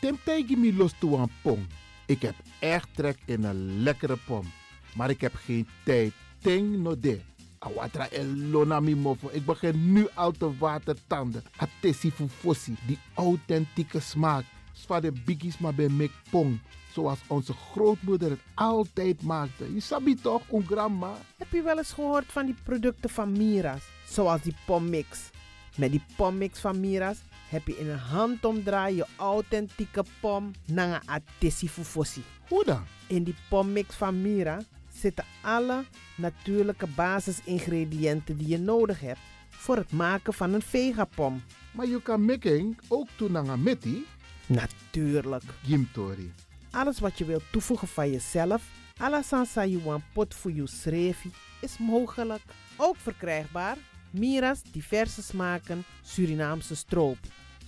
Temtegi mi los toe aan pom. Ik heb echt trek in een lekkere pom. Maar ik heb geen tijd. Ting no de. Awatra elona mi mofo. Ik begin nu al te watertanden. Atesi fufossi. Die authentieke smaak. Zwa de biggies maar bij mek pong. Zoals onze grootmoeder het altijd maakte. Je sabi toch, een grandma? Heb je wel eens gehoord van die producten van Mira's? Zoals die pommix. Met die pommix van Mira's heb je in een handomdraai je authentieke pom naar atesi fufossi. Hoe dan? In die pommix van Mira zitten alle natuurlijke basisingrediënten die je nodig hebt voor het maken van een vegapom. Maar je kan making ook toe nanga meti. Natuurlijk. Gimtori. Alles wat je wilt toevoegen van jezelf, à sansa yuan pot voor je schreefie, is mogelijk. Ook verkrijgbaar Mira's diverse smaken Surinaamse stroop,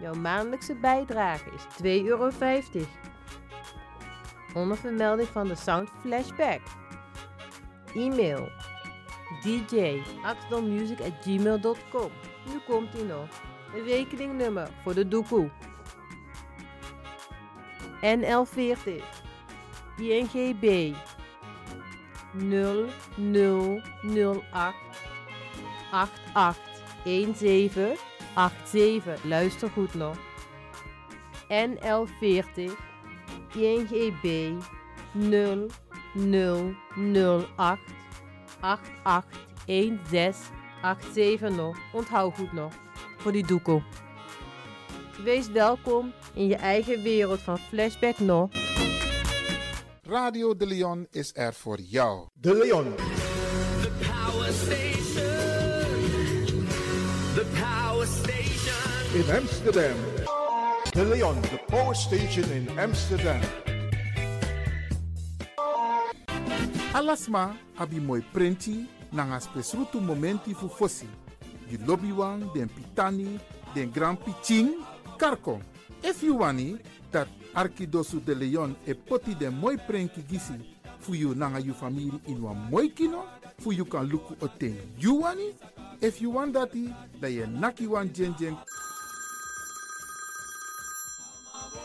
Jouw maandelijkse bijdrage is 2,50 euro. Onder vermelding van de Sound Flashback. E-mail djaxdonmusic.gmail.com Nu komt ie nog. Een rekeningnummer voor de doekoe. NL40 INGB 0008 881787. Luister goed nog. NL40 INGB 0008 881687 nog. Onthoud goed nog. Voor die doekoe. Wees welkom in je eigen wereld van Flashback nog. Radio de Leon is er voor jou. De Leon. In Amsterdam. De Leon, the power station in Amsterdam. Alasma abi moi prenti nanga spesrutu momenti fu fosi. You lobby wan den pitani den grand piching karko. If you wani dat arkidosu de leon e poti den moi prenki gisi fu you nanga you famiri in wan moi kino fu you kan luku oten you wani. If you want dati da ye naki wan jen jen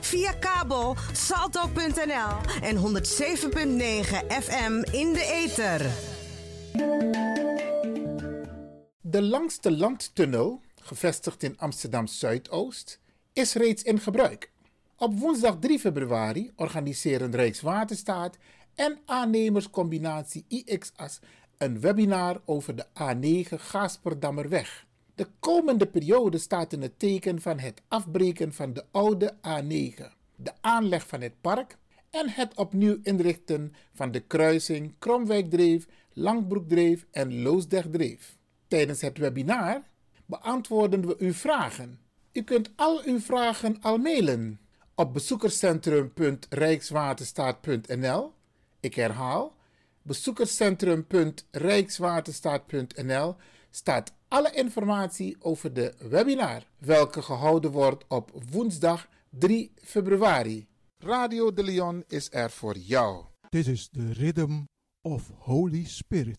Via kabel salto.nl en 107.9 FM in de ether. De langste landtunnel, gevestigd in Amsterdam Zuidoost, is reeds in gebruik. Op woensdag 3 februari organiseren Rijkswaterstaat en aannemerscombinatie IX-AS een webinar over de A9 Gasperdammerweg. De komende periode staat in het teken van het afbreken van de oude A9, de aanleg van het park en het opnieuw inrichten van de kruising Kromwijkdreef, Langbroekdreef en Loosdrechtdreef. Tijdens het webinar beantwoorden we uw vragen. U kunt al uw vragen al mailen op bezoekerscentrum.rijkswaterstaat.nl. Ik herhaal, bezoekerscentrum.rijkswaterstaat.nl staat alle informatie over de webinar, welke gehouden wordt op woensdag 3 februari. Radio de Leon is er voor jou. This is the rhythm of Holy Spirit.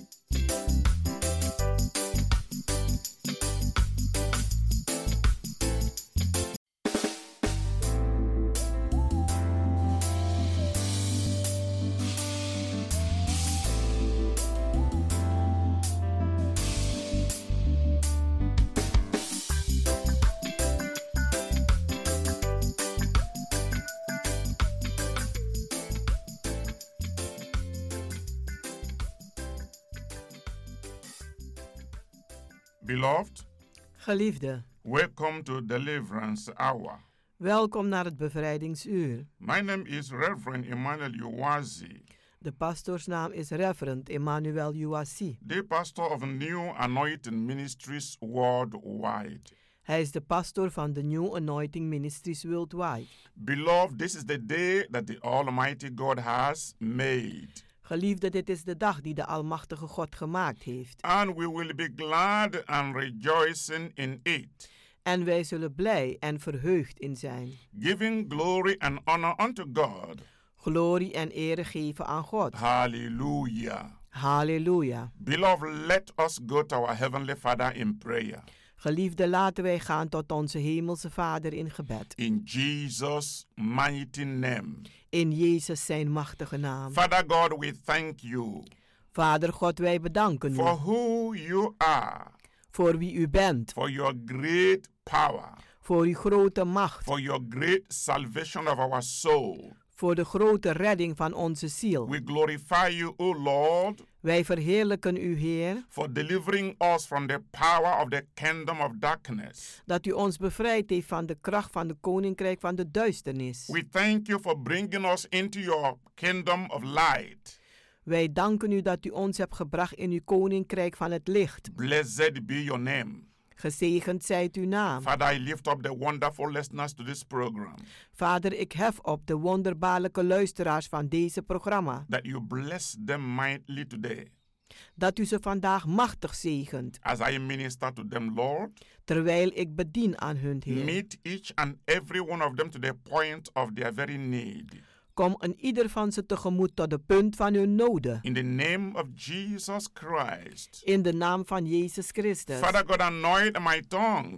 Beloved, Geliefde, welcome to Deliverance Hour. welkom naar het bevrijdingsuur. My name is Reverend Emmanuel Uwazi, De pastoorsnaam is Reverend Emmanuel Uwasi. the pastor of New Anointing Ministries worldwide. Hij is de pastoor van de New Anointing Ministries Worldwide. Beloved, this is the day that the Almighty God has made, Geliefde, dit is de dag die de Almachtige God gemaakt heeft. and we will be glad and rejoicing in it, En wij zullen blij en verheugd in zijn. giving glory and honor unto God. Glorie en ere geven aan God. Hallelujah. Halleluja. Beloved, let us go to our Heavenly Father in prayer. Geliefde, laten wij gaan tot onze Hemelse Vader in gebed. In Jesus' mighty name. In Jezus zijn machtige naam. Father God, we thank you Vader God, wij bedanken for u who you are, voor wie u bent, for your great power, voor uw grote macht, for your great salvation of our soul. voor de grote redding van onze ziel. We glorify you, O Lord, Wij verheerlijken u, Heer, for delivering us from the power of the kingdom of darkness. dat u ons bevrijd heeft van de kracht van de koninkrijk van de duisternis. We thank you for bringing us into your kingdom of light. Wij danken u dat u ons hebt gebracht in uw koninkrijk van het licht. Blessed be your name. Gezegend zijt uw naam. Father, I lift up the wonderful listeners to this program Vader, ik hef op de wonderbaarlijke luisteraars van deze programma, that you bless them mightily today. dat u ze vandaag machtig zegent, As I minister to them, Lord, terwijl ik bedien aan hun Heer. Meet each and every one of them to the point of their very need. Kom een ieder van ze tegemoet tot de punt van hun noden. In the name of Jesus Christ. In de naam van Jezus Christus. Father God, anoint my tongue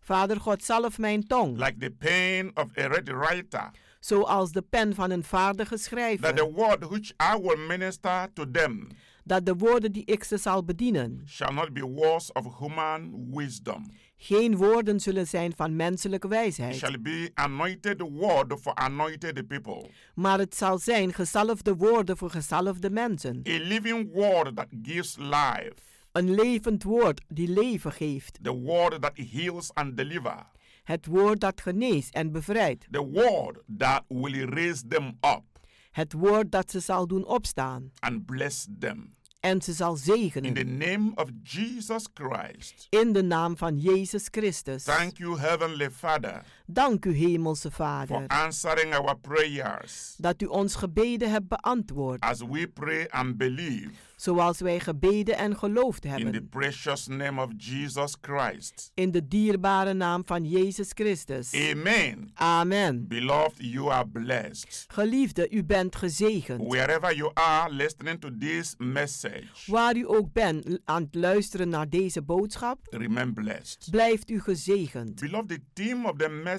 Vader God, zalf mijn tong, like the pen of a ready writer, zoals de pen van een vaardige that the schrijver, word which I will minister to them dat de woorden die ik ze zal bedienen shall not be words of human wisdom. geen woorden zullen zijn van menselijke It wijsheid, shall be anointed word for anointed people. maar het zal zijn gezalfde woorden voor gezalfde mensen. A living word that gives life. Een levend woord die leven geeft, The word that heals and delivers. het woord dat geneest en bevrijdt, The word that will raise them up het woord dat ze zal doen opstaan and bless them. en ze zal In the zegenen. name of Jesus Christ. In de naam van Jezus Christus. Thank you, Heavenly Father, Dank u, Hemelse for Vader, answering our prayers dat u ons gebeden hebt beantwoord, as we pray and believe zoals wij gebeden en geloofd in the hebben. precious name of Jesus Christ. In de dierbare naam van Jezus Christus. Amen. Amen. Beloved, you are blessed. Geliefde, u bent gezegend. Wherever you are listening to this message, Waar u ook bent l- aan het luisteren naar deze boodschap, remain blessed. blijft u gezegend. Beloved, the theme of the message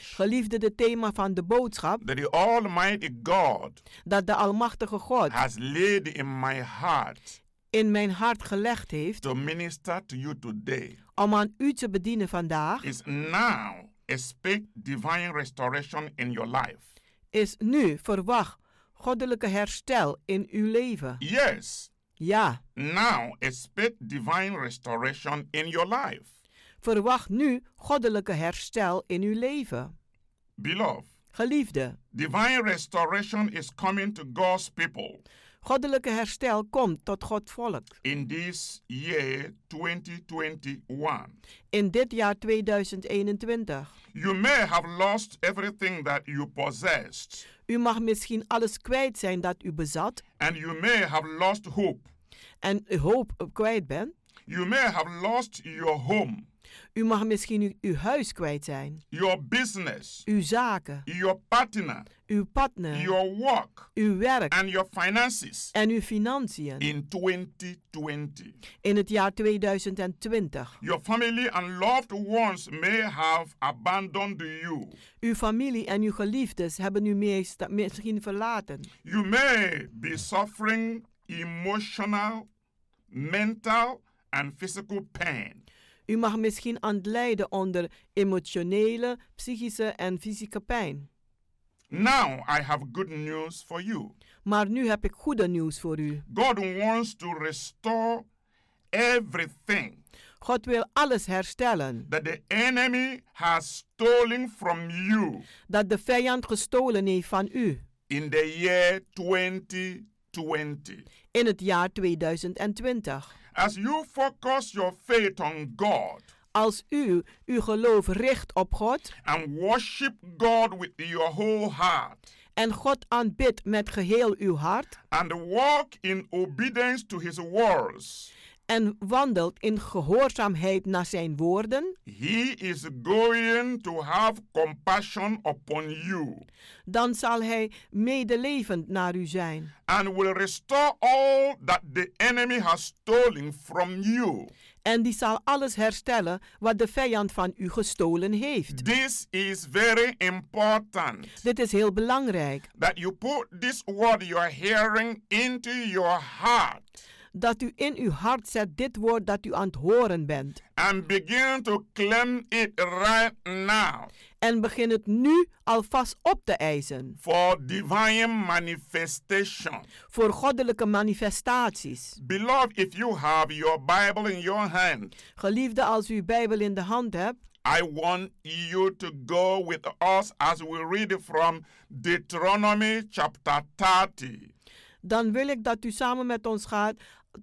Geliefde, het thema van de boodschap that the Almighty God dat de Almachtige God has laid in my heart in mijn hart gelegd heeft to minister to you today om aan u te bedienen vandaag, is now expect divine restoration in your life. is nu verwacht goddelijke herstel in uw leven. Yes, Ja, now expect divine restoration in your life. verwacht nu goddelijke herstel in uw leven. Beloved, Geliefde, divine restoration is coming to God's people goddelijke herstel komt tot God volk. in this year 2021. In dit jaar 2021. You may have lost everything that you possessed, U mag misschien alles kwijt zijn dat u bezat and you may have lost hope. en uw hoop eh, kwijt bent. You may have lost your home, U mag misschien uw, uw huis kwijt zijn, your business, uw zaken, your partner, uw partner, your work, uw werk and your finances en uw financiën in 2020. in het jaar 2020. Your family and loved ones may have abandoned you. Uw familie en uw geliefdes hebben u meest- misschien verlaten. You may be suffering emotional, mental, and physical pain. U mag misschien aan het lijden onder emotionele, psychische en fysieke pijn. Now I have good news for you. Maar nu heb ik goede nieuws voor u. God wants to restore everything God wil alles herstellen that the enemy has stolen from you dat de vijand gestolen heeft van u. in the year 2020. in het jaar 2020. As you focus your faith on God Als u uw geloof richt op God and worship God with your whole heart en God aanbidt met geheel uw hart and walk in obedience to his words, en wandelt in gehoorzaamheid naar zijn woorden, he is going to have compassion upon you dan zal hij medelevend naar u zijn and will restore all that the enemy has stolen from you. en die zal alles herstellen wat de vijand van u gestolen heeft. This is very important Dit is heel belangrijk that you put this word you are hearing into your heart dat u in uw hart zet dit woord dat u aan het horen bent and begin to claim it right now en begin het nu alvast op te eisen for divine manifestation. voor goddelijke manifestaties. Beloved, if you have your Bible in your hand, Geliefde, als u uw Bijbel in de hand eh? hebt, I want you to go with us as we read from Deuteronomy chapter 30. dan wil ik dat u samen met ons gaat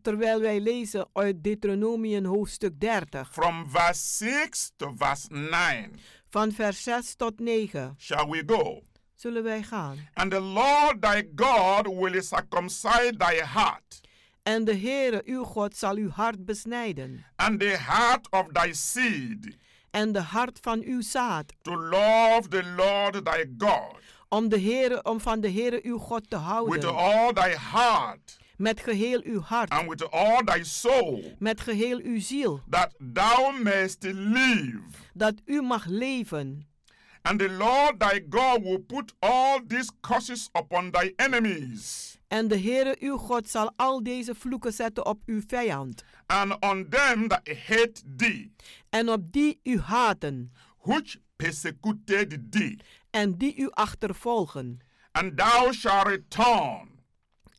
terwijl wij lezen uit Deuteronomium hoofdstuk 30, From verse 6 to verse 9. van vers 6 tot 9. Shall we go? Zullen wij gaan? And the Lord thy God will circumcise thy heart En de Heere, uw God, zal uw hart besnijden and the heart of thy seed en de hart van uw zaad, to love the Lord thy God om, de Heere, om van de Heere uw God te with houden, all thy heart met geheel uw hart, and with all thy soul, met geheel uw ziel, that thou mayest live. dat u mag leven. And the Lord thy God will put all these curses upon thy enemies En de Heere uw God zal al deze vloeken zetten op uw vijand. and on them that hate thee, En op die u haten. which persecuted thee. En die u achtervolgen. And thou shalt return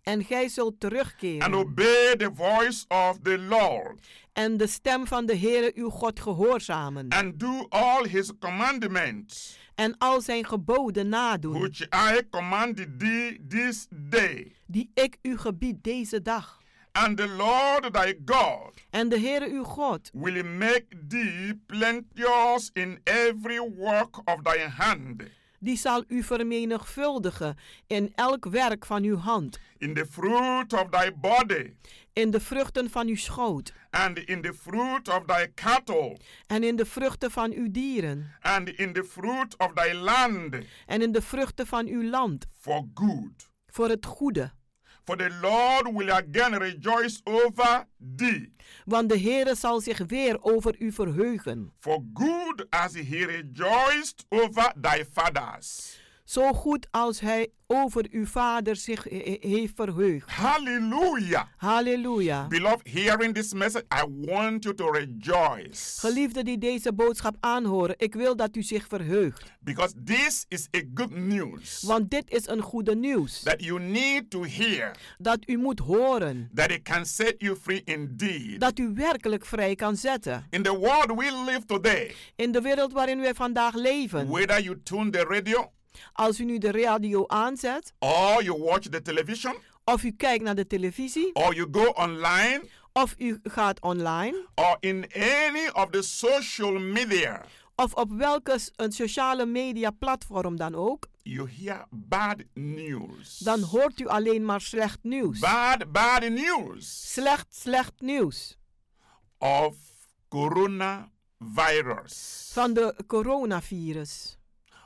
En gij zult and terugkeren. obey the voice of the Lord, En de stem van de Heere uw God gehoorzamen. and do all his commandments, En al zijn geboden nadoen. which I commanded thee this day. Die ik u gebied deze dag. And the Lord thy God En de Heere uw God will make thee plenteous in every work of thy hand, die zal u vermenigvuldigen in elk werk van uw hand, in the fruit of thy body, in de vruchten van uw schoot, and in the fruit of thy cattle, en in de vruchten van uw dieren, and in the fruit of thy land, en in de vruchten van uw land, for good. voor het goede. For the Lord will again rejoice over thee, Want de Heere zal zich weer over u verheugen, for good as he rejoiced over thy fathers. zo goed als hij over uw vader zich he- he- heeft verheugd. Hallelujah. Halleluja. Beloved, hearing this message, I want you to rejoice. Geliefden die deze boodschap aanhoren, ik wil dat u zich verheugt. Because this is a good news Want dit is een goede nieuws, that you need to hear dat u moet horen, that it can set you free indeed. dat u werkelijk vrij kan zetten. In the world we live today, In de wereld waarin wij vandaag leven, whether you tune the radio als u nu de radio aanzet, or you watch the television of u kijkt naar de televisie, or you go online of u gaat online, or in any of the social media, of op welke s- een sociale media platform dan ook, you hear bad news. dan hoort u alleen maar slecht nieuws. Bad, bad news Slecht, slecht nieuws of coronavirus, van de coronavirus,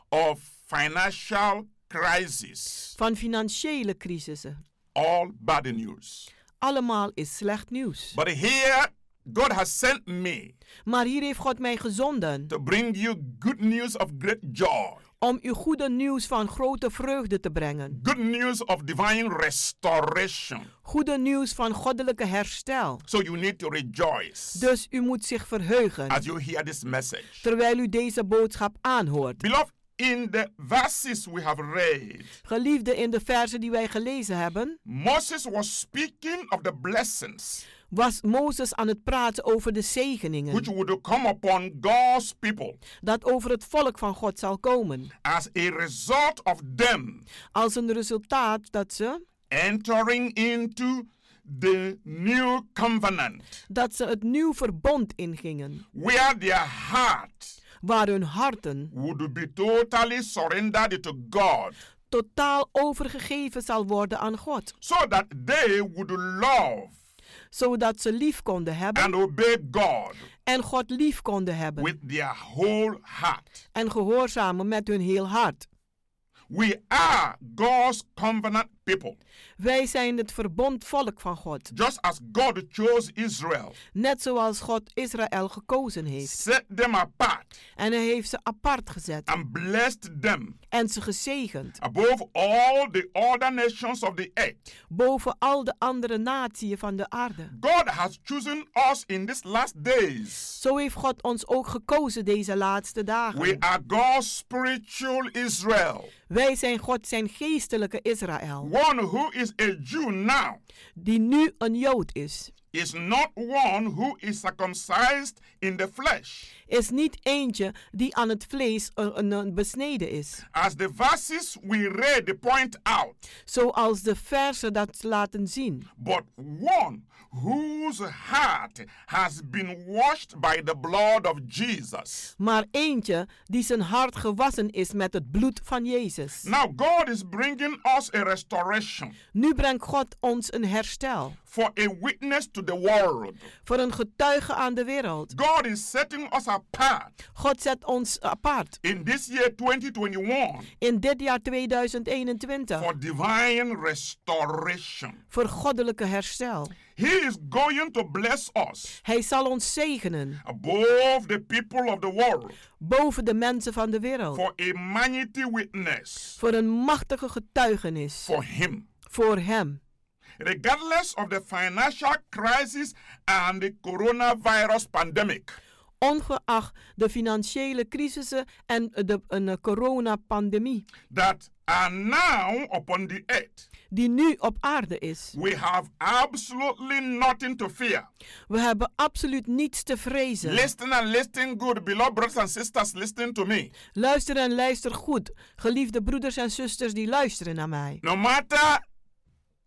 of financial crisis. van financiële crisissen. All bad news. Allemaal is slecht nieuws. But here, God has sent me Maar hier heeft God mij gezonden to bring you good news of great joy, om u goede nieuws van grote vreugde te brengen. good news of divine restoration. Goede nieuws van goddelijke herstel. So you need to rejoice Dus u moet zich verheugen as you hear this message. terwijl u deze boodschap aanhoort. Beloved, in the verses we have read, Geliefde in de verzen die wij gelezen hebben, Moses was speaking of the blessings was Mozes aan het praten over de which zegeningen would come upon God's people dat over het volk van God zal komen. as a result of them Als een resultaat dat ze, entering into the new covenant dat ze het nieuw verbond ingingen, where their heart waar hun harten would be totally surrendered to God totaal overgegeven zal worden aan God, so that they would love zodat ze lief konden hebben and obey God en God lief konden hebben with their whole heart. en gehoorzamen met hun heel hart. We are God's covenant people. Wij zijn het verbond volk van God. Just as God chose Israel, Net zoals God Israël gekozen heeft. set them apart, En hij heeft ze apart gezet and blessed them en ze gezegend. above all the other nations of the earth, Boven al de andere natieën van de aarde. God has chosen us in these last days. Zo heeft God ons ook gekozen deze laatste We dagen. are God's spiritual Israel, Wij zijn God zijn geestelijke Israël. one who is a Jew now. Die nu een Jood is. is not one who is circumcised in the flesh. Is niet eentje die aan het vlees een, een- een besneden is. As the verses we read point out, Zoals de versen dat laten zien. but one whose heart has been washed by the blood of Jesus. Maar eentje die zijn hart gewassen is met het bloed van Jezus. Now, God is bringing us a restoration Nu brengt God ons een herstel. for a witness to the world. Voor een getuige aan de wereld. God is setting us apart God zet ons apart. in this year 2021 In dit jaar 2021. for divine restoration. Voor goddelijke herstel. He is going to bless us Hij zal ons zegenen. above the people of the world. Boven de mensen van de wereld. for a mighty witness Voor een machtige getuigenis. for him. voor hem. regardless of the financial crisis and the coronavirus pandemic. Ongeacht de financiële crisissen en de een coronapandemie that are now upon the earth. die nu op aarde is. We have absolutely nothing to fear. We hebben absoluut niets te vrezen. Listen and listen good, beloved brothers and sisters, listen to me. Luister en luister goed, geliefde broeders en zusters die luisteren naar mij. No matter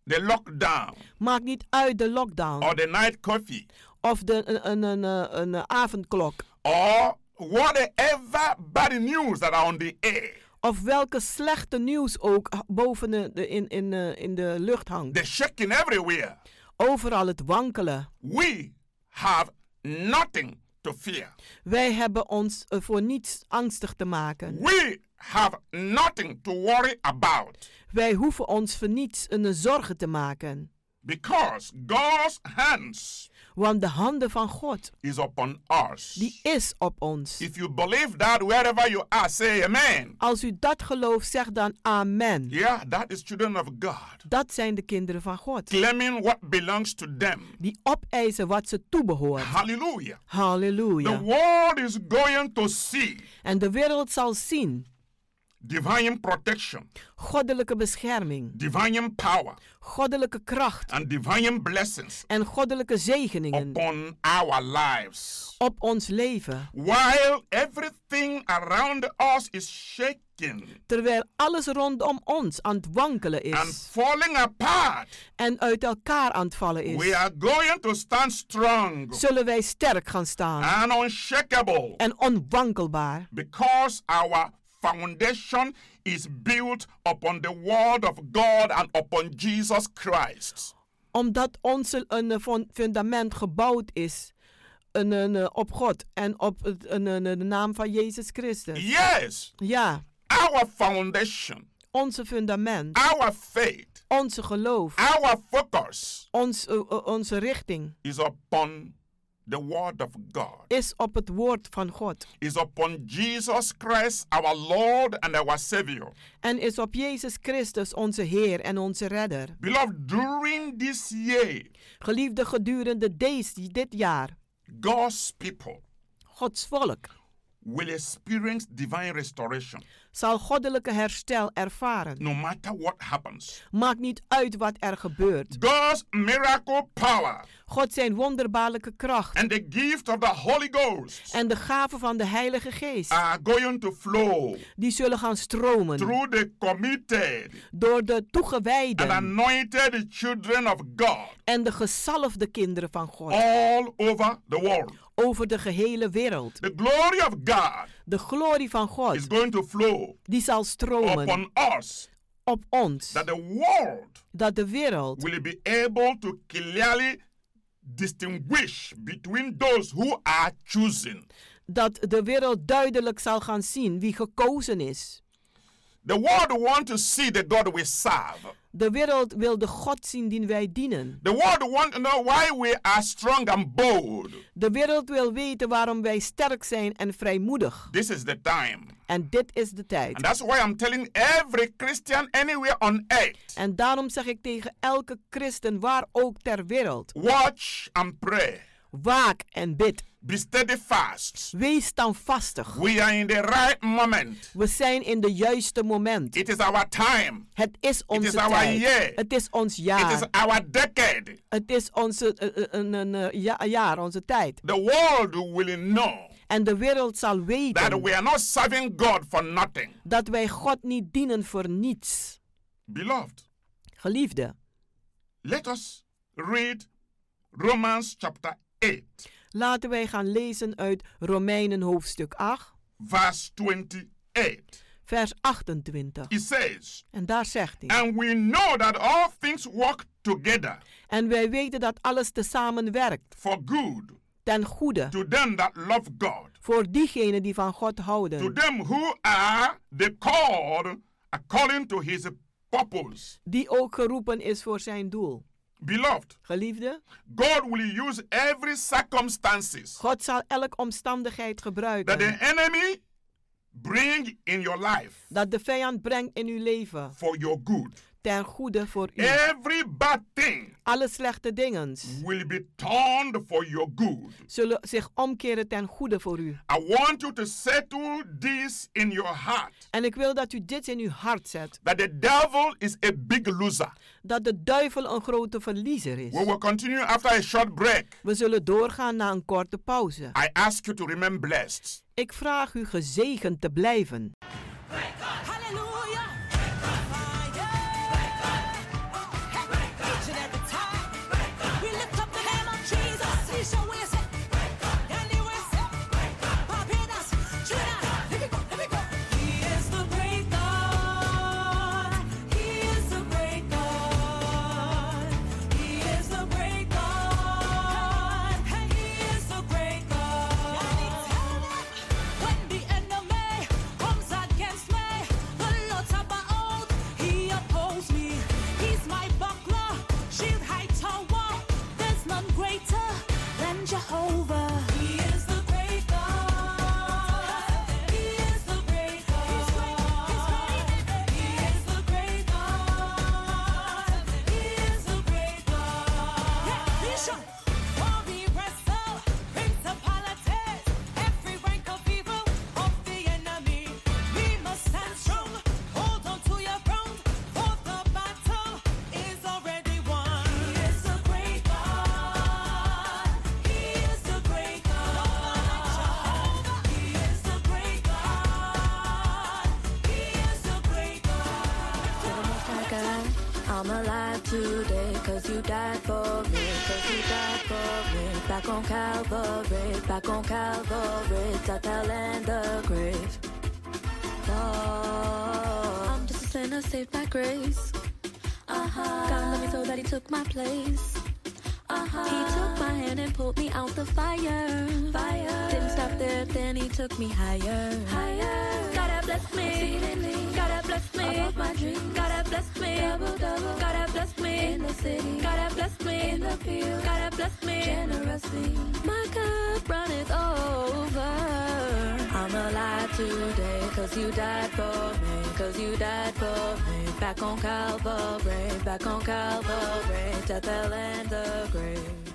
the lockdown Maakt niet uit de lockdown or the night coffee of de, een, een, een, een, een avondklok or whatever bad news that are on the air, of welke slechte nieuws ook h- boven de, de- in, in, eh, in de lucht hangt. the shaking everywhere, Overal het wankelen. we have nothing to fear. Wij hebben ons eh, voor niets angstig te maken. We have nothing to worry about Wij hoeven ons voor niets een zorgen te maken. because God's hands Want de handen van God, is upon us. die is op ons. If you believe that wherever you are, say amen. Als u dat gelooft, zeg dan amen. Yeah, that is children of God Dat zijn de kinderen van God. claiming what belongs to them. Die opeisen wat ze toebehoort. Hallelujah. The Halleluja. world is going to see En de wereld zal zien divine protection, goddelijke bescherming, divine power, goddelijke kracht and divine blessings en goddelijke zegeningen upon our lives. op ons leven. While everything around us is shaking Terwijl alles rondom ons aan het wankelen and is falling apart, en uit elkaar aan het vallen we is, are going to stand strong zullen wij sterk gaan staan and unshakable. en onwankelbaar. because our foundation is built upon the word of God and upon Jesus Christ. Omdat ons een eh, fon- fundament gebouwd is een, een, eh, op God en op het- een, een, een, de naam van Jezus Christus. Yes, Ja, our foundation, onze fundament, our faith, onze geloof, our focus ons, eh, eh, onze richting is upon the word of God, is op het woord van God is upon Jesus Christ, our Lord and our Savior. en is op Jezus Christus onze Heer en onze Redder. Beloved, during this year, Geliefde gedurende deze, dit jaar, God's people Gods volk will experience divine restoration zal goddelijke herstel ervaren. no matter what happens. Maakt niet uit wat er gebeurt. God's miracle power God zijn wonderbaarlijke kracht and the gift of the Holy Ghost en de gaven van de Heilige Geest, are going to flow die zullen gaan stromen through the committed door de and toegewijden anointed children of God en de gezalfde kinderen van God all over the world. over de gehele wereld. The glory of God De glorie van God, is going to flow die zal stromen upon us op ons, that the world dat de wereld will be able to clearly distinguish between those who are chosen. dat de wereld duidelijk zal gaan zien wie gekozen is. The world want to see the God we serve. De wereld wil de God zien die wij dienen. The world want to know why we are strong and bold. De wereld wil weten waarom wij sterk zijn en vrijmoedig. This is the time. En dit is de tijd. And that's why I'm telling every Christian anywhere on earth En daarom zeg ik tegen elke christen, waar ook ter wereld, watch and pray, waak en bid. be steadfast. Wees standvastig. We are in the right moment. We zijn in de juiste moment. It is our time, Het is onze is our tijd. year. Het is ons it jaar. is our decade. Het is onze eh, eh, een- een, eh, ja- jaar, onze tijd. The world will know En de wereld zal that weten we are not serving God for nothing. dat wij God niet dienen voor niets. Beloved, Geliefde, let us read Romans chapter 8, laten wij gaan lezen uit Romeinen hoofdstuk 8, verse 28. vers 28. It says, En daar zegt hij. And we know that all things work together En wij weten dat alles tezamen werkt, for good ten goede, to them that love God. voor diegenen die van God to houden, them who are Ah, the called according to his purpose. die ook geroepen is voor zijn doel. Beloved, Geliefde, God will use every circumstances God zal elke omstandigheid that the gebruiken enemy bring in your life dat de vijand brengt in uw leven for your good. ten goede voor u. Every bad thing Alle slechte dingen will be turned for your good. zullen zich omkeren ten goede voor u. I want you to settle this in your heart En ik wil dat u dit in uw hart zet. that the devil is a big loser. Dat de duivel een grote verliezer We is. will continue after a short break. We zullen doorgaan na een korte pauze. I ask you to remain blessed. Ik vraag u gezegend te blijven. I'm alive today, cause you died for me, cause you died for me. Back on Calvary, back on Calvary, death, hell, and the grave. Oh, I'm just a sinner saved by grace. Uh-huh. God loved me so that he took my place. Uh-huh. He took my hand and pulled me out the fire. Fire. Didn't stop there, then he took me higher. Higher. God have blessed me. Exceedingly. God have blessed me. Above my dreams. God have blessed me. Double, double. God have blessed me. In the city. God have blessed me. In the field. God have blessed me. Generously. My cup runneth over. I'm alive today, cause you died for me, cause you died for me. Back on Calvary, back on Calvary, death, hell, and the grave.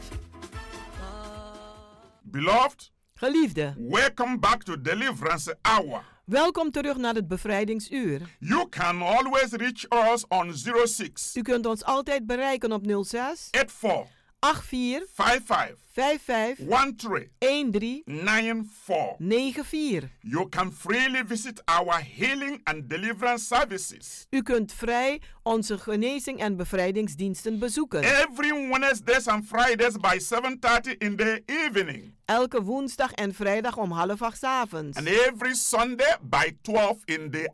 Beloved, Geliefde, welcome back to Deliverance Hour. welkom terug naar het bevrijdingsuur. You can always reach us on 06 U kunt ons altijd bereiken op 06 84 84 55 55 13 13 94. 94. You can freely visit our healing and deliverance services U kunt vrij onze genezing en bevrijdingsdiensten bezoeken. every Wednesdays and Fridays by 7:30 in the evening Elke woensdag en vrijdag om half acht 's avonds. and every Sunday by 12 in the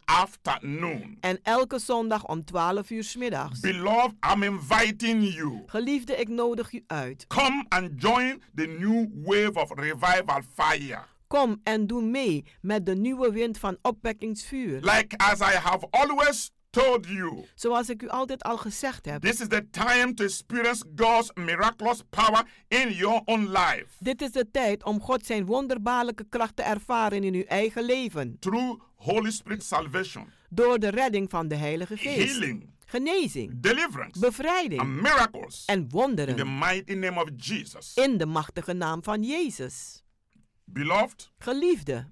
afternoon. En elke zondag om 12 uur 's middags. Beloved, I'm inviting you. Geliefde, ik nodig u uit. Come and join the new wave of revival fire. Kom en doe mee met de nieuwe wind van opwekkingsvuur. Like as I have always told you, Zoals ik u altijd al gezegd heb. this is the time to experience God's miraculous power in your own life Dit is de tijd om God zijn wonderbaarlijke kracht te ervaren in uw eigen leven. through Holy Spirit salvation, Door de redding van de Heilige Geest. healing, Genezing, deliverance, bevrijding and miracles en in the wonderen. mighty name of Jesus. In de machtige naam van Jezus. Beloved, Geliefde,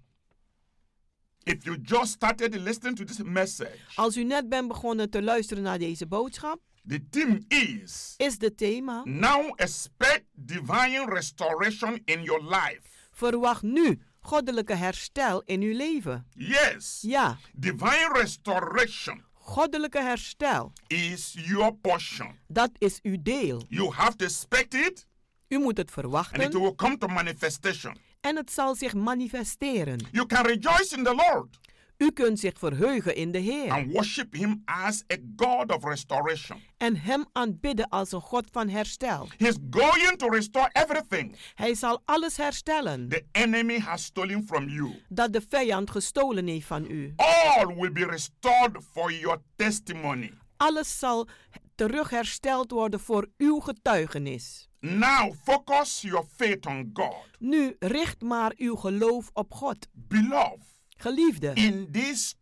if you just started listening to this message, als u net bent begonnen te luisteren naar deze boodschap, the theme is is het thema. now expect divine restoration in your life. Verwacht nu goddelijke herstel in uw leven. Yes, Ja, divine restoration goddelijke herstel. is your portion. Dat is uw deel. You have to expect it U moet het and it verwachten will come to manifestation. en het zal zich manifesteren. You can rejoice in the Lord U kunt zich verheugen in de Heer and worship Him as a God of restoration. en Hem aanbidden als een God van herstel. He's going to restore everything Hij zal alles herstellen the enemy has stolen from you. dat de vijand gestolen heeft van u. All will be restored for your testimony. Alles zal terug hersteld worden voor uw getuigenis. Now focus your faith on God. Nu richt maar uw geloof op God. Beloved, Geliefde. In this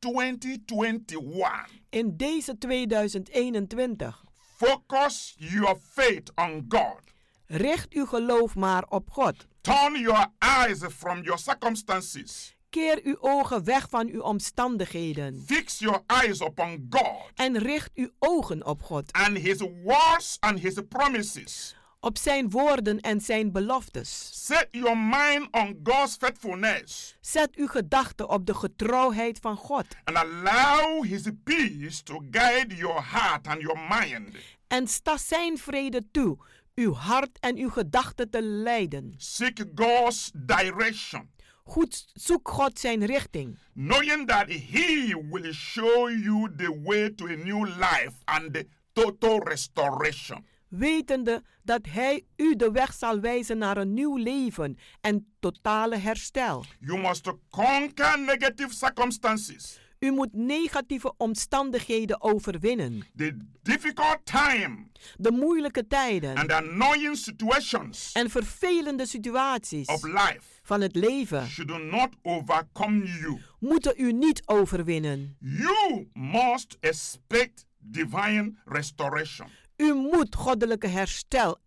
2021, in deze 2021, focus your faith on God. richt uw geloof maar op God. Turn your eyes from your circumstances. Keer uw ogen weg van uw omstandigheden Fix your eyes upon God en richt uw ogen op God, and His words and His promises. op zijn woorden en zijn beloftes. Set your mind on God's faithfulness Zet uw gedachten op de getrouwheid van God and allow His peace to guide your heart and your mind. en sta zijn vrede toe, uw hart en uw gedachten te leiden. Seek God's direction, Goed, zoek God zijn richting, knowing that He will show you the way to a new life and total restoration. wetende dat Hij u de weg zal wijzen naar een nieuw leven en totale herstel. You must conquer negative circumstances, U moet negatieve omstandigheden overwinnen, the difficult time de moeilijke tijden and annoying situations en vervelende situaties of life van het leven should not overcome you. moeten u niet overwinnen. You must expect divine restoration. U moet goddelijke herstel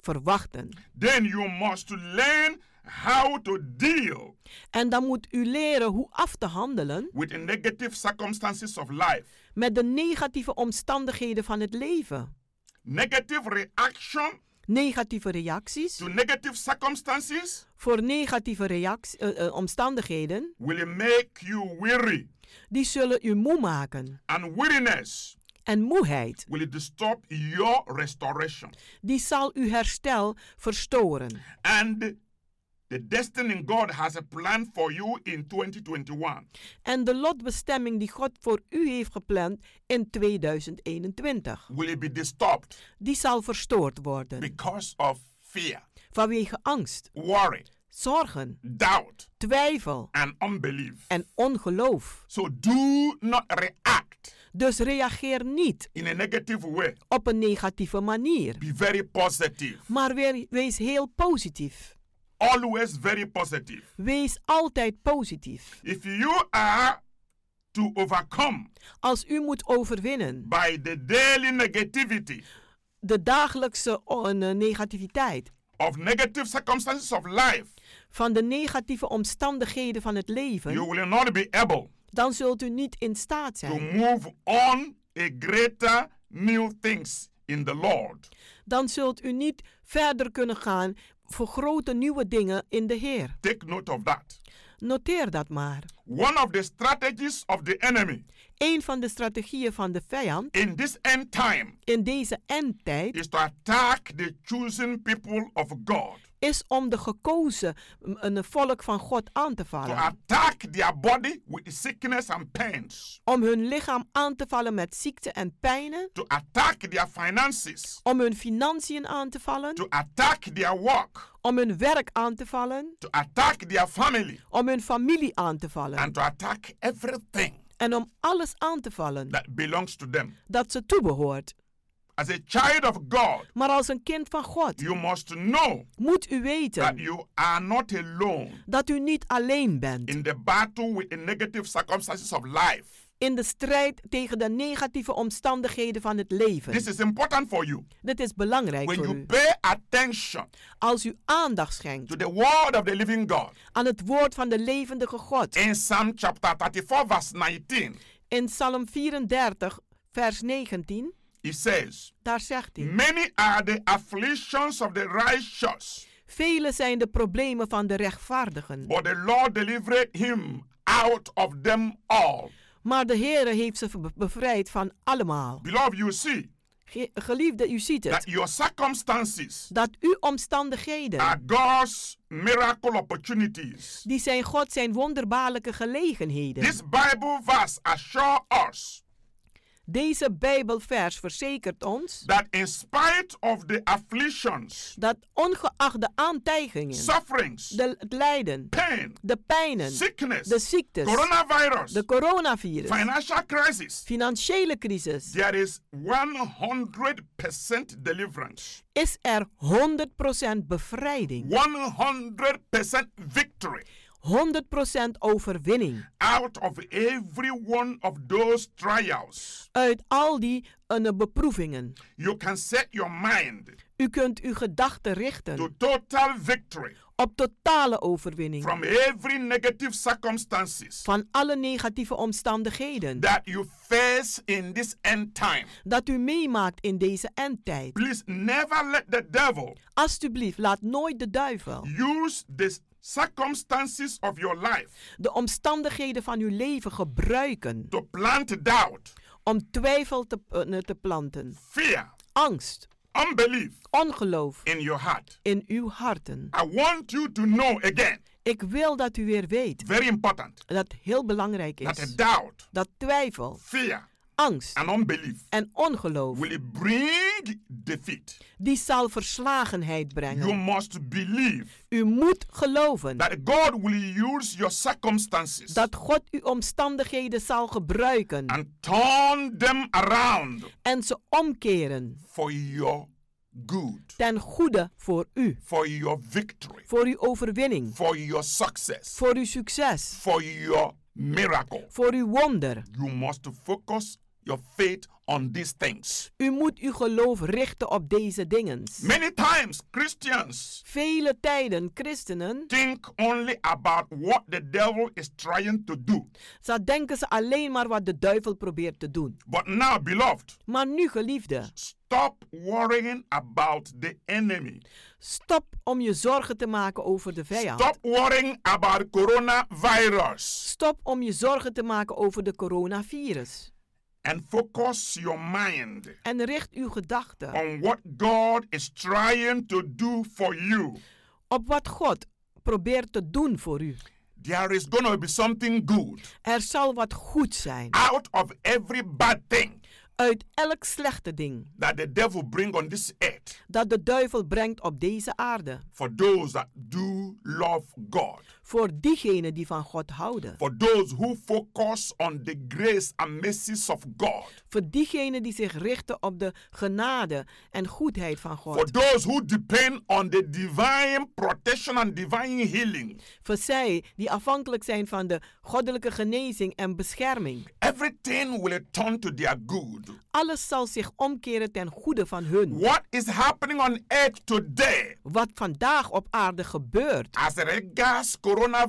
verwachten. Then you must learn how to deal En dan moet u leren hoe af te handelen with the negative circumstances of life, met de negatieve omstandigheden van het leven. negative reaction Negatieve reacties. to negative circumstances Voor negatieve reactie- eh, eh, omstandigheden, will make you weary die zullen u moe maken. and weariness En moeheid, will disturb your restoration die zal uw herstel verstoren. and the destiny God has a plan for you in 2021. En de lotbestemming die God voor u heeft gepland in 2021, will it be disturbed die zal verstoord worden. because of fear, Vanwege angst, worry, zorgen, doubt, twijfel and unbelief. en ongeloof. So do not react Dus reageer niet in a negative way. op een negatieve manier, Be very positive. maar weer- wees heel positief. Always very positive. Wees altijd positief. If you are to overcome Als u moet overwinnen by the daily negativity de dagelijkse oh, eh, negativiteit of negative circumstances of life, van de negatieve omstandigheden van het you leven, will not be able dan zult u niet in staat to zijn. move on a greater new things in the Lord. dan zult u niet verder kunnen gaan voor grote nieuwe dingen in de Heer. Take note of that. Noteer dat maar. One of the strategies of the enemy Een van de strategieën van de vijand in this end time in deze endtijd is to attack the chosen people of God, is om de gekozen m- een volk van God aan te to vallen. attack their body with sickness and pains, Om hun lichaam aan te vallen met ziekte en pijnen. to attack their finances, Om hun financiën aan te vallen. to attack their work, Om hun werk aan te vallen. to attack their family, Om hun familie aan te vallen. and to attack everything En om alles aan te vallen that belongs to them. dat ze toebehoort. As a child of God, Maar als een kind van God you must know moet u that weten you are not alone dat u niet alleen bent. in the battle with the negative circumstances of life. in de strijd tegen de negatieve omstandigheden van het This leven. is important for you. Dit is belangrijk When voor you u. pay attention Als u aandacht schenkt to the word of the living God, aan het woord van de levendige God. in Psalm chapter 34, verse 19, In Psalm 34, vers 19, it says, daar zegt hij: Many are the afflictions of the righteous, Vele zijn de problemen van de rechtvaardigen, but the Lord delivered him out of them all. maar de Heere heeft ze be- bevrijd van allemaal. Beloved, you see Ge- Geliefde, u ziet that het. your circumstances Dat uw omstandigheden, are God's miracle opportunities. die zijn God zijn wonderbaarlijke gelegenheden. This Bible verse assures us Deze Bijbelvers verzekert ons that in spite of the afflictions, dat ongeacht de aantijgingen, sufferings, de, het lijden, pain, de pijnen, sickness, de ziektes, coronavirus, de coronavirus, financial crisis, financiële crisis, There is 100% deliverance, is er 100% bevrijding, 100% victory, 100% overwinning. out of every one of those trials. Uit al die eh, beproevingen. You can set your mind U kunt uw gedachten richten to total victory op totale overwinning from every negative circumstances van alle negatieve omstandigheden that you face in this end time. dat u meemaakt in deze endtijd. Please never let the devil Alsjeblieft, laat nooit de duivel use the circumstances of your life de omstandigheden van uw leven gebruiken to plant doubt, om twijfel te, eh, te planten, fear, angst, unbelief ongeloof in your heart. in uw harten. I want you to know again, Ik wil dat u weer weet very important, dat heel belangrijk that a is doubt, dat twijfel, fear, angst and unbelief en ongeloof will bring defeat. die zal verslagenheid You brengen. must believe U moet geloven that God will use your circumstances dat God uw omstandigheden zal gebruiken and turn them around en ze omkeren for your good, ten goede voor u, for your victory, voor uw overwinning, for your success, voor uw succes, for your miracle. voor uw wonder. You must focus your faith on these things. U moet uw geloof richten op deze dingen. Many times Christians Vele tijden christenen, think only about what the devil is trying to do. zo denken ze alleen maar wat de duivel probeert te doen. But now, beloved, Maar nu, geliefde, stop worrying about the enemy. stop om je zorgen te maken over de vijand. Stop worrying about coronavirus Stop om je zorgen te maken over de coronavirus. and focus your mind En richt uw gedachten on what God is trying to do for you. op wat God probeert te doen voor u. There is going to be something good Er zal wat goed zijn out of every bad thing uit elk slechte ding that the devil bring on this earth dat de duivel brengt op deze aarde. for those that do love God, Voor diegenen die van God houden. for those who focus on the grace and mercies of God, Voor diegenen die zich richten op de genade en goedheid van for God. those who depend on the divine protection and divine healing. Voor zij die afhankelijk zijn van de goddelijke genezing en bescherming. Everything will turn to their good. Alles zal zich omkeren ten goede van hun. What is happening on earth today Wat vandaag op aarde gebeurt, as regards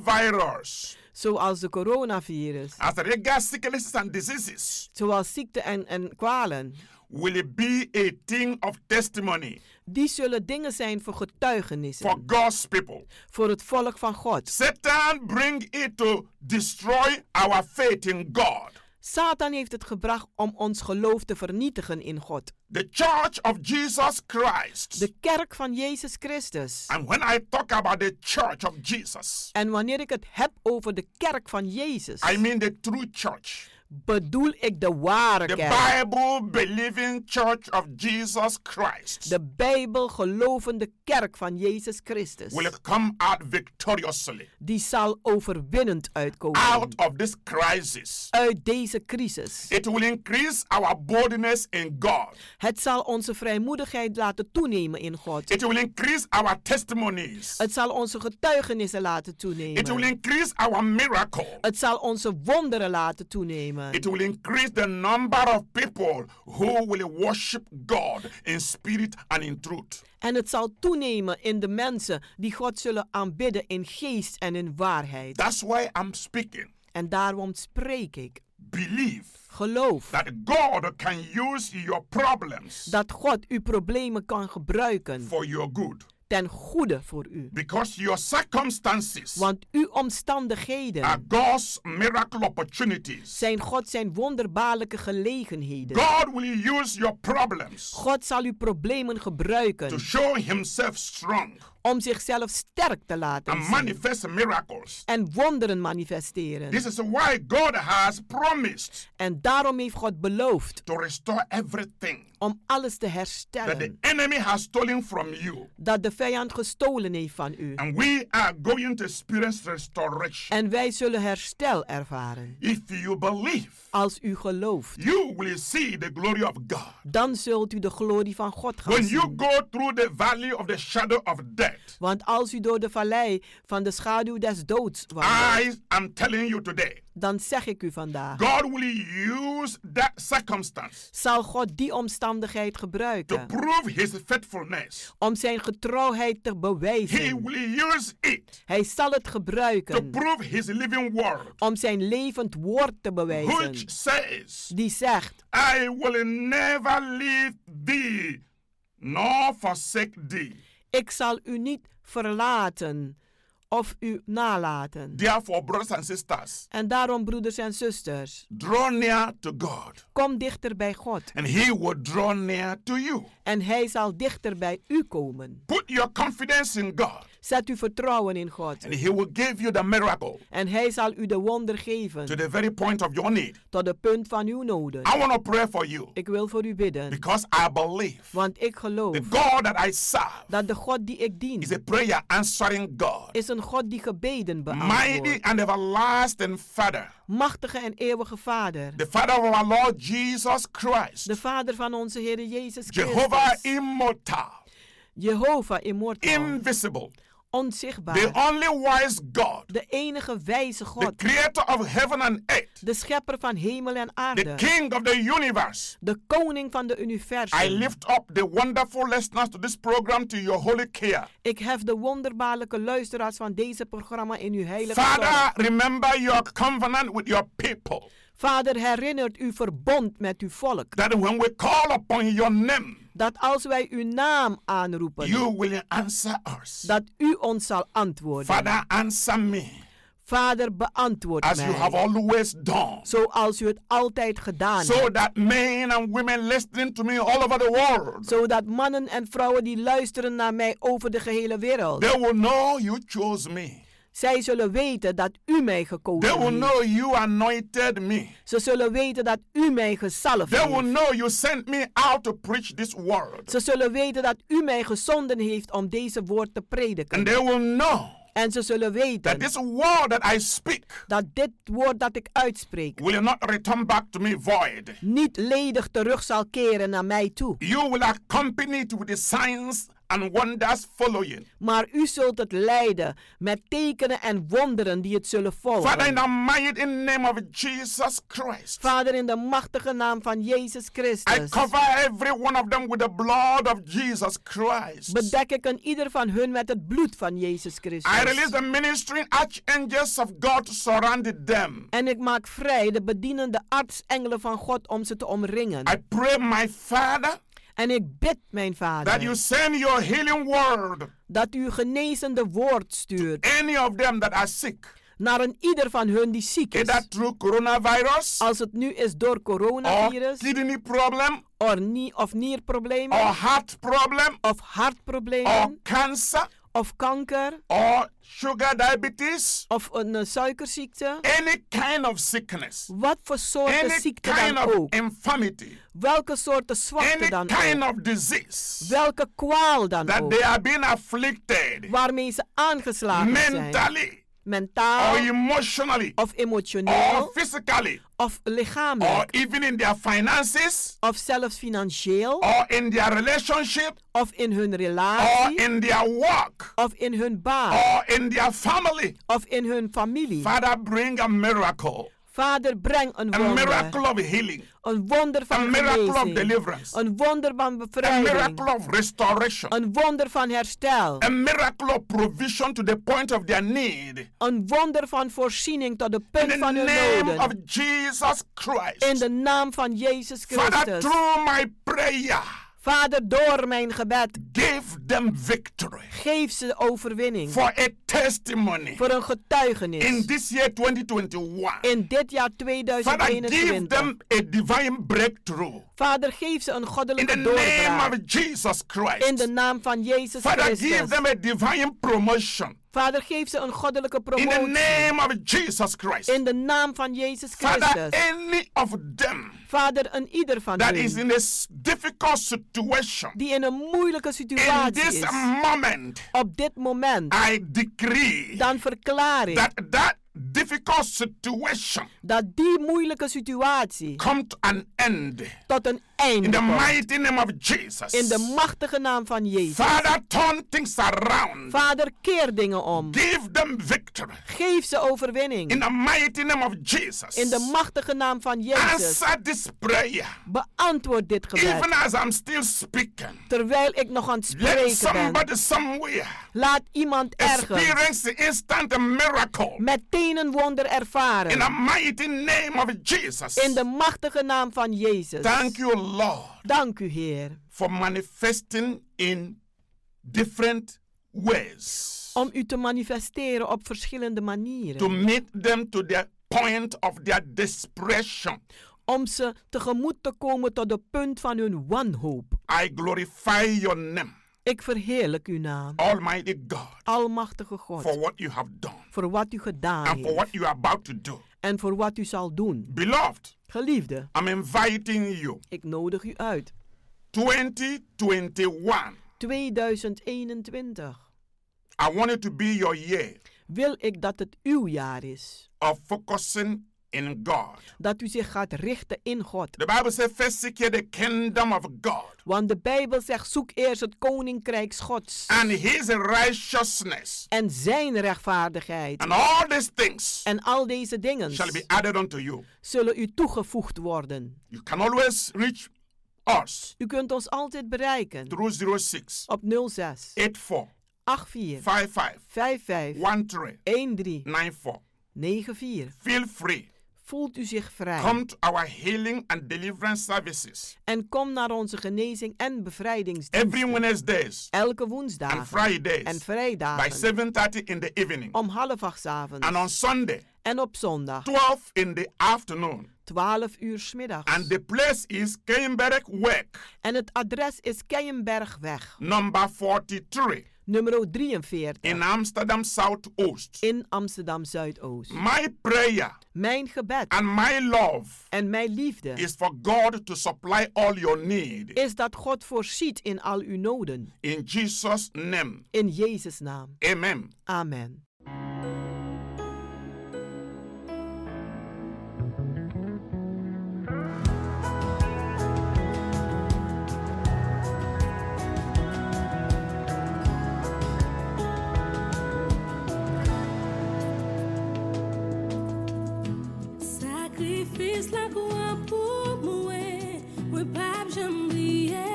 coronavirus, zoals de coronavirus, as regards sicknesses and diseases, zoals ziekte en, en kwalen, will it be a thing of testimony die zullen dingen zijn voor for getuigenissen, God's people. voor het volk van God. Satan bring it to destroy our faith in God. Satan heeft het gebracht om ons geloof te vernietigen in God. The church of Jesus Christ. De kerk van Jezus Christus. and when I talk about the church of Jesus, En wanneer ik het heb over de kerk van Jezus, I mean the true church. bedoel ik de ware The kerk. Bible believing church of Jesus Christ De Bijbel gelovende kerk van Jezus will Christus. come out victoriously Die zal overwinnend out uitkomen of this crisis. uit deze crisis. It will increase our boldness in God. Het zal onze vrijmoedigheid laten toenemen in God. It will increase our testimonies. Het zal onze getuigenissen laten It will toenemen. increase our miracle. Het zal onze wonderen laten toenemen. It will increase the number of people who will worship God in spirit and in truth. En het zal toenemen in de mensen die God zullen aanbidden in geest en in waarheid. That's why I'm speaking. En daarom spreek ik. Believe Geloof that God can use your problems dat God uw problemen kan gebruiken for your good ten goede voor u. because your circumstances Want uw are omstandigheden God's miracle opportunities. zijn God zijn wonderbaarlijke gelegenheden. God will use your problems God zal uw problemen to gebruiken show Himself strong om zichzelf sterk te laten and zien manifest miracles. en wonderen manifesteren. This is why God has promised En daarom heeft God beloofd to restore everything om alles te that the herstellen enemy has stolen from you. dat de vijand gestolen heeft van u. And we are going to experience restoration. En wij zullen herstel ervaren. If you believe, Als u gelooft, you will see the glory of God. dan zult u de glorie van God gaan When you zien. go through the valley of the shadow of death, Want als u door de vallei van de schaduw des doods I wandelt, am telling you today, dan zeg ik u vandaag, God will use that circumstance zal God die omstandigheid to gebruiken prove his faithfulness. om zijn getrouwheid te bewijzen. Hij zal het To gebruiken prove his living word, om zijn levend woord te bewijzen. which says, Die zegt, I will never leave thee nor forsake thee. ik zal u niet verlaten of u nalaten. Therefore, brothers and sisters, En daarom, broeders en zusters, draw near to God, kom dichter bij God. and he will draw near to you. En hij zal dichter bij u komen. Put your confidence in God, Zet uw vertrouwen in God. and he will give you the miracle En hij zal u de wonder geven to the very point of your need. tot het punt van uw noden. I want to pray for you Ik wil voor u bidden, because I believe want ik geloof the God that I serve dat de God die ik dien is a prayer answering God, is een God die gebeden mighty beantwoordt. and everlasting Father, Machtige en eeuwige Vader, the Father of our Lord Jesus Christ, de Vader van onze Heer Jezus Jehovah Christus, immortal, Jehovah immortal, invisible, the onzichtbaar, only wise God, de enige wijze the God, creator of heaven and earth, de schepper van hemel en the aarde, King of the universe. de koning van de I universum. lift up the wonderful listeners to this program to your holy care. Ik hef de wonderbaarlijke luisteraars van deze programma in uw heilige zorg. Father, remember your covenant with your people. Vader, herinnert uw verbond met uw volk. That when we call upon your name, Dat als wij uw naam aanroepen, you will answer us. dat u ons zal antwoorden. Father, answer me Vader, beantwoord as you have mij. always done. Zoals u het altijd gedaan So hebt. that men and women listening to me all over the world, Zodat mannen en vrouwen die luisteren naar mij over de gehele wereld. they will know you chose me. Zij zullen weten dat u mij They gekozen will heeft. know you anointed me. Ze zullen weten dat u mij gezalfd They will heeft. know you sent me out to preach this word. Ze zullen weten dat u mij gezonden heeft om deze woord te And prediken. they will know En ze zullen that weten this word that I speak dat dit woord dat ik uitspreek will not return back to me void. niet ledig terug zal keren naar mij toe. You will accompany it with the signs and wonders following. Maar u zult het leiden met tekenen en wonderen die het zullen Father, in volgen. the mighty name of Jesus Christ, Vader, in de machtige naam van Jezus I Christus, cover every one of them with the blood of Jesus Christ. bedek ik een ieder van hun met het bloed van Jezus I release Christus. the ministering archangels of God to surround them. En ik maak vrij de bedienende artsengelen van God om ze te omringen. I pray, my Father, En ik bid, mijn that you Vader, send your healing word dat u genezende woord stuurt any of them that are sick, naar een ieder van hun die ziek either is. through coronavirus Als het nu is door or coronavirus, kidney problem of, nie, of nierproblemen, or heart problem of or hartproblemen, cancer of kanker, or sugar diabetes, of een eh, suikerziekte. any kind of sickness, Wat voor soorten any ziekte kind dan of ook. infirmity, Welke soorten any zwakte dan kind ook. of disease Welke kwaal dan that they ook. are being afflicted Waarmee ze aangeslagen zijn. mentally or Mentaal emotionally of or emotioneel physically of or lichamelijk. even in their finances Of zelfs financieel or in their relationship of in hun or relatie. in their work Of in hun baan. or in their family. Of in hun familie. Father, bring a miracle. Vader, breng een A miracle wonder. of healing, Een wonder a van miracle of genezing. deliverance, Een wonder van a miracle bevrijding. of restoration, Een wonder van herstel. a miracle of provision to the point of their need. Een wonder van voorziening tot de In punt the van hun name noden. of Jesus Christ. In de naam van Jezus Father, Christus. through my prayer, Vader, door mijn gebed, give them victory geef ze overwinning. for a testimony Voor een in getuigenis. this year 2021. In dit jaar Father, give 2021. them a divine breakthrough Vader, geef ze een in the goddelijke name doorbraak. of Jesus In de Christ. naam van Jezus Father, give Christus. them a divine promotion Vader, geef ze een goddelijke in the promotie. name of Jesus Christ. In de naam van Jezus Father, Christus. any of them Vader, een ieder van that is hen in a s- difficult situation die in een moeilijke in situatie this is, moment, op dit moment, I decree dan verklaar ik that that difficult situation dat die moeilijke situatie come to an end tot een einde In the komt. mighty name of Jesus. In de machtige naam van Jezus. Father, turn things around. Vader, keer dingen om. Give them victory. Geef ze overwinning. In the mighty name of Jesus. In de machtige naam van Jezus. Answer this prayer. Beantwoord dit Even gebed. as I'm still speaking. Terwijl ik nog aan het Let spreken ben. somebody somewhere Laat iemand ergens experience the instant miracle. meteen een wonder In the ervaren. mighty name of Jesus. In de machtige naam van Jezus. Thank you, Lord, Dank u, Heer. for manifesting in different ways Om u te manifesteren op verschillende manieren. to meet them to their point of their desperation. om ze tegemoet te komen tot de punt van hun wanhoop. I glorify your name, Ik verheerlijk uw naam, Almighty God, Almachtige for God, what you have done voor wat u gedaan and for heeft what you are about to do. en voor wat u zal doen. Beloved, Geliefde, I'm inviting you. ik nodig u uit. 2021, 2021 I want it to be your year wil ik dat het uw jaar is. of focusing in God. Dat u zich gaat richten in God. The Bible says, first seek ye the kingdom of God Want de Bijbel zegt, zoek eerst het koninkrijk Gods and his righteousness, en zijn rechtvaardigheid. and all these things En al deze dingen shall be added unto you. zullen u toegevoegd worden. You can always reach us U kunt ons altijd bereiken through 06 op 06 84 84 55 55 13 13 94. 94. Feel free. Voelt u zich vrij Come to our healing and deliverance services en kom naar onze genezing en every bevrijdingsdienst Wednesdays elke and woensdag en Fridays by vrijdag 7.30 in the evening om half acht 's avonds and on Sunday en op zondag 12 in the afternoon. 12 uur And 's middags. the place is Keienberg Work, En het adres is Keienbergweg, number 43 nummer in 43 Amsterdam Southoost. in Amsterdam Zuidoost. My prayer Mijn gebed and my love en mijn liefde is for God to supply all your need is dat God voorziet in al uw noden. in Jesus' name. In Jezus' naam. Amen. Amen. Sakrifis la kwa pou mwen Mwen pap jam liye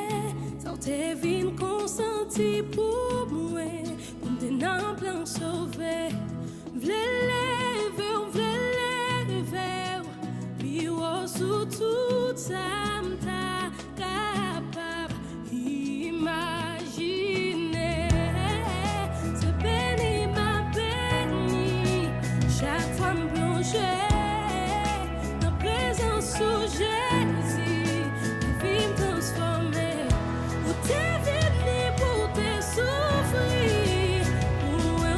Sa te vin konsanti pou mwen Pou mte nan plan chove Vle leve ou vle leve ou Bi ou sou tout sa mta kapab Imagine Se beni ma beni Chaque fois me plonger Dans présence où Jésus La vie me transformer Où t'es venu pour te souffrir Où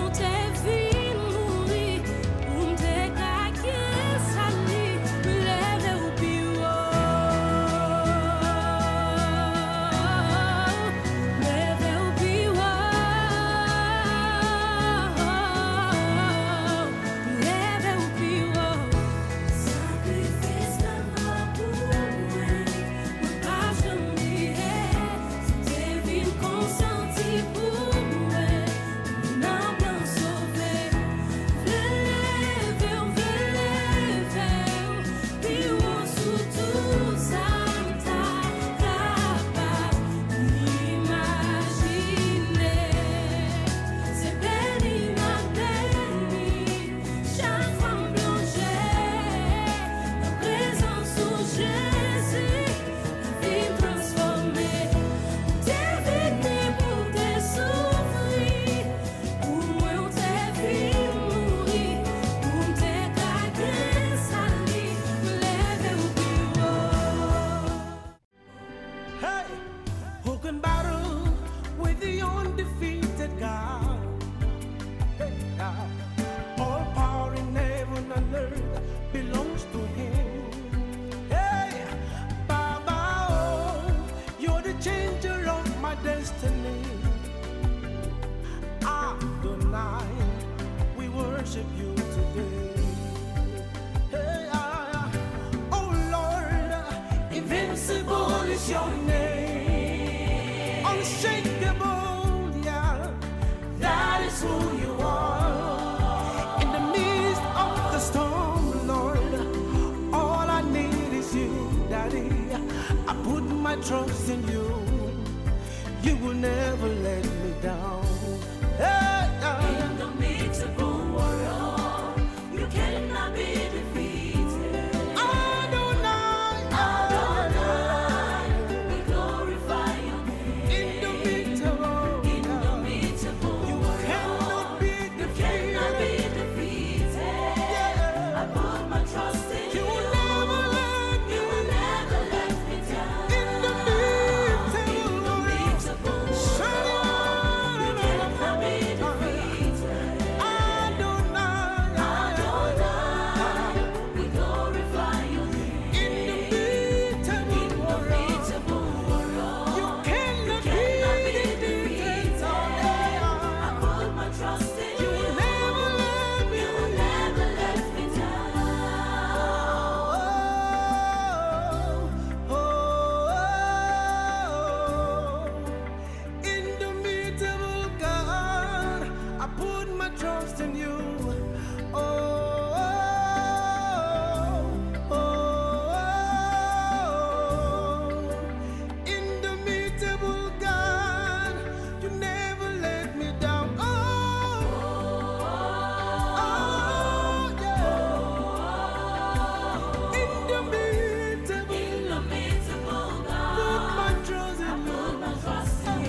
t'es venu mourir Où t'es caqué sali Me lève au bureau Lève au bureau Lève au bureau Sacrifice la mort pour moi Mon pas je J'ai vu consenti pour moi N'a bien sauvé Lève au bureau Puis on sous tout ça Capable d'imaginer C'est béni ma béni Chaque fois me plonger La présence où Jésus La vie me transformer T'es venu pour te souffrir Pour moi on t'est vu mourir Pour t'es cagué sali Lève au bureau Hey, who can battle with the undefeated God? Hey, God. All power in heaven and earth belongs to Him. Hey, Baba, oh, you're the changer of my destiny. Adonai, we worship you ah, today. Hey, ah, oh Lord, invincible is is your name. Unshakable, yeah. That is who you are. In the midst of the storm, Lord, all I need is you, Daddy. I put my trust in you. You will never let me down. Hey, yeah. In the mixable world, you cannot be defeated. Adonai, Adonai, we glorify your name. Indomitable, indomitable world, you cannot be defeated. I put my trust in you. You will never let, you will never let me down. Indomitable world, you cannot be defeated. Adonai, we glorify your name. Indomitable world, you cannot be defeated. I put my trust in you. You will never let me, you will never let me down. Oh, Indomitable God, I put my trust in you. Oh, oh, oh. indomitable God, you never let me down. Oh, oh, yeah. Indomitable, put my trust in you.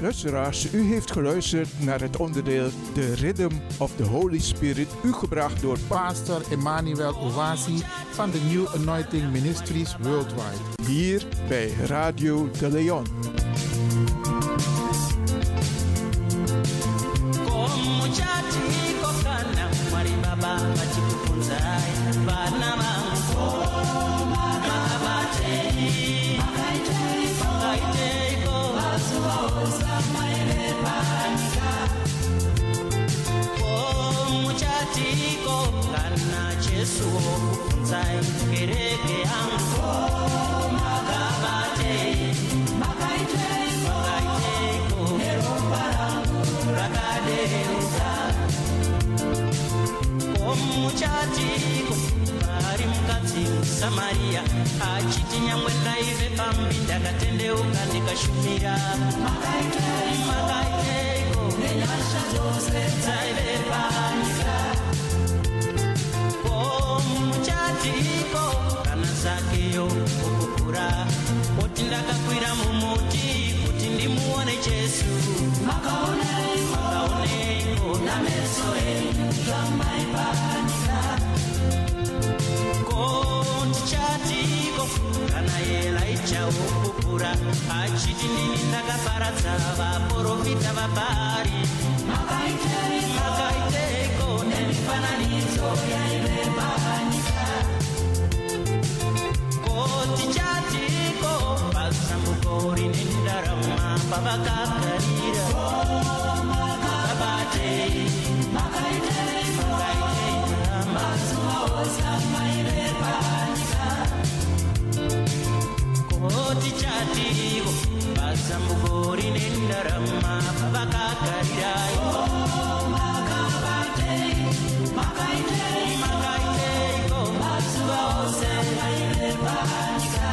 Luisteraars, u heeft geluisterd naar het onderdeel The Rhythm of the Holy Spirit, u gebracht door Pastor Emmanuel Owasi van de New Anointing Ministries Worldwide. hier bij Radio de Leon. Como chatiko kana mwari baba vachikufunzai vana vangu makabatei makaiteiko mazuva osamaire panyika como chatiko kana chesuwo kufunzai kereke yangu makabatei makaiteiko neropa rangu rakadeuka omuchatiko ari mukadzi musamariya achiti nyangwe ndaive pambi ndakatendeuka ndikashumira makaiteiko nenyasha dzose dzaive panyika omuchatiko kana zakeyo kukukura oti ndakakwira mumuti kuti ndimuone jesu makaoneiko nameso enyu zvamaipanyika koti chatiko kana yela ichawo kukura achiti ndini ndakaparadza vaprofita vabhari makaiteiko nemifananidzo yaive panyika koti chatiko pasambuko rine ndarama pavakagarira vabatei makaiteiko mazuva ose amaire panyika koti chatiko pasambuko rine ndarama pavakagarirayo makaiteiko mazuva ose amaire panyika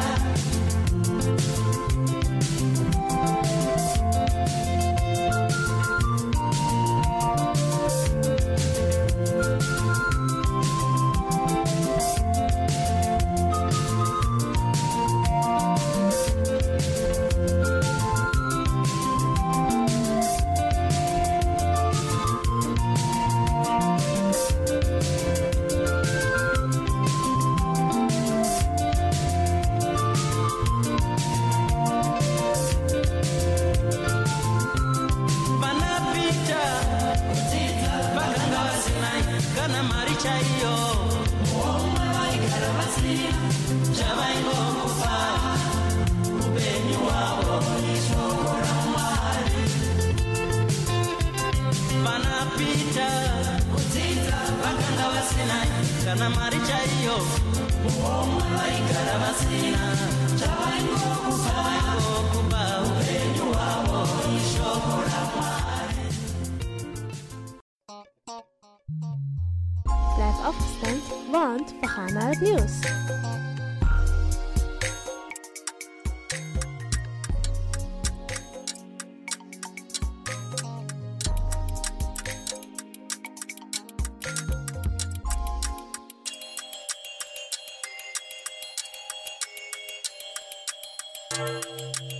hapana mari chaiyo vaigara pasi chavaingomupa upenyu wavo ishoko ramwari vanapita kudzidza vakanga vasina kana mari chaiyo vaigara vasina chavaingokupa upenyu wavo ishoko ramwari Blijf afgestemd, want we gaan naar het nieuws. Thank you.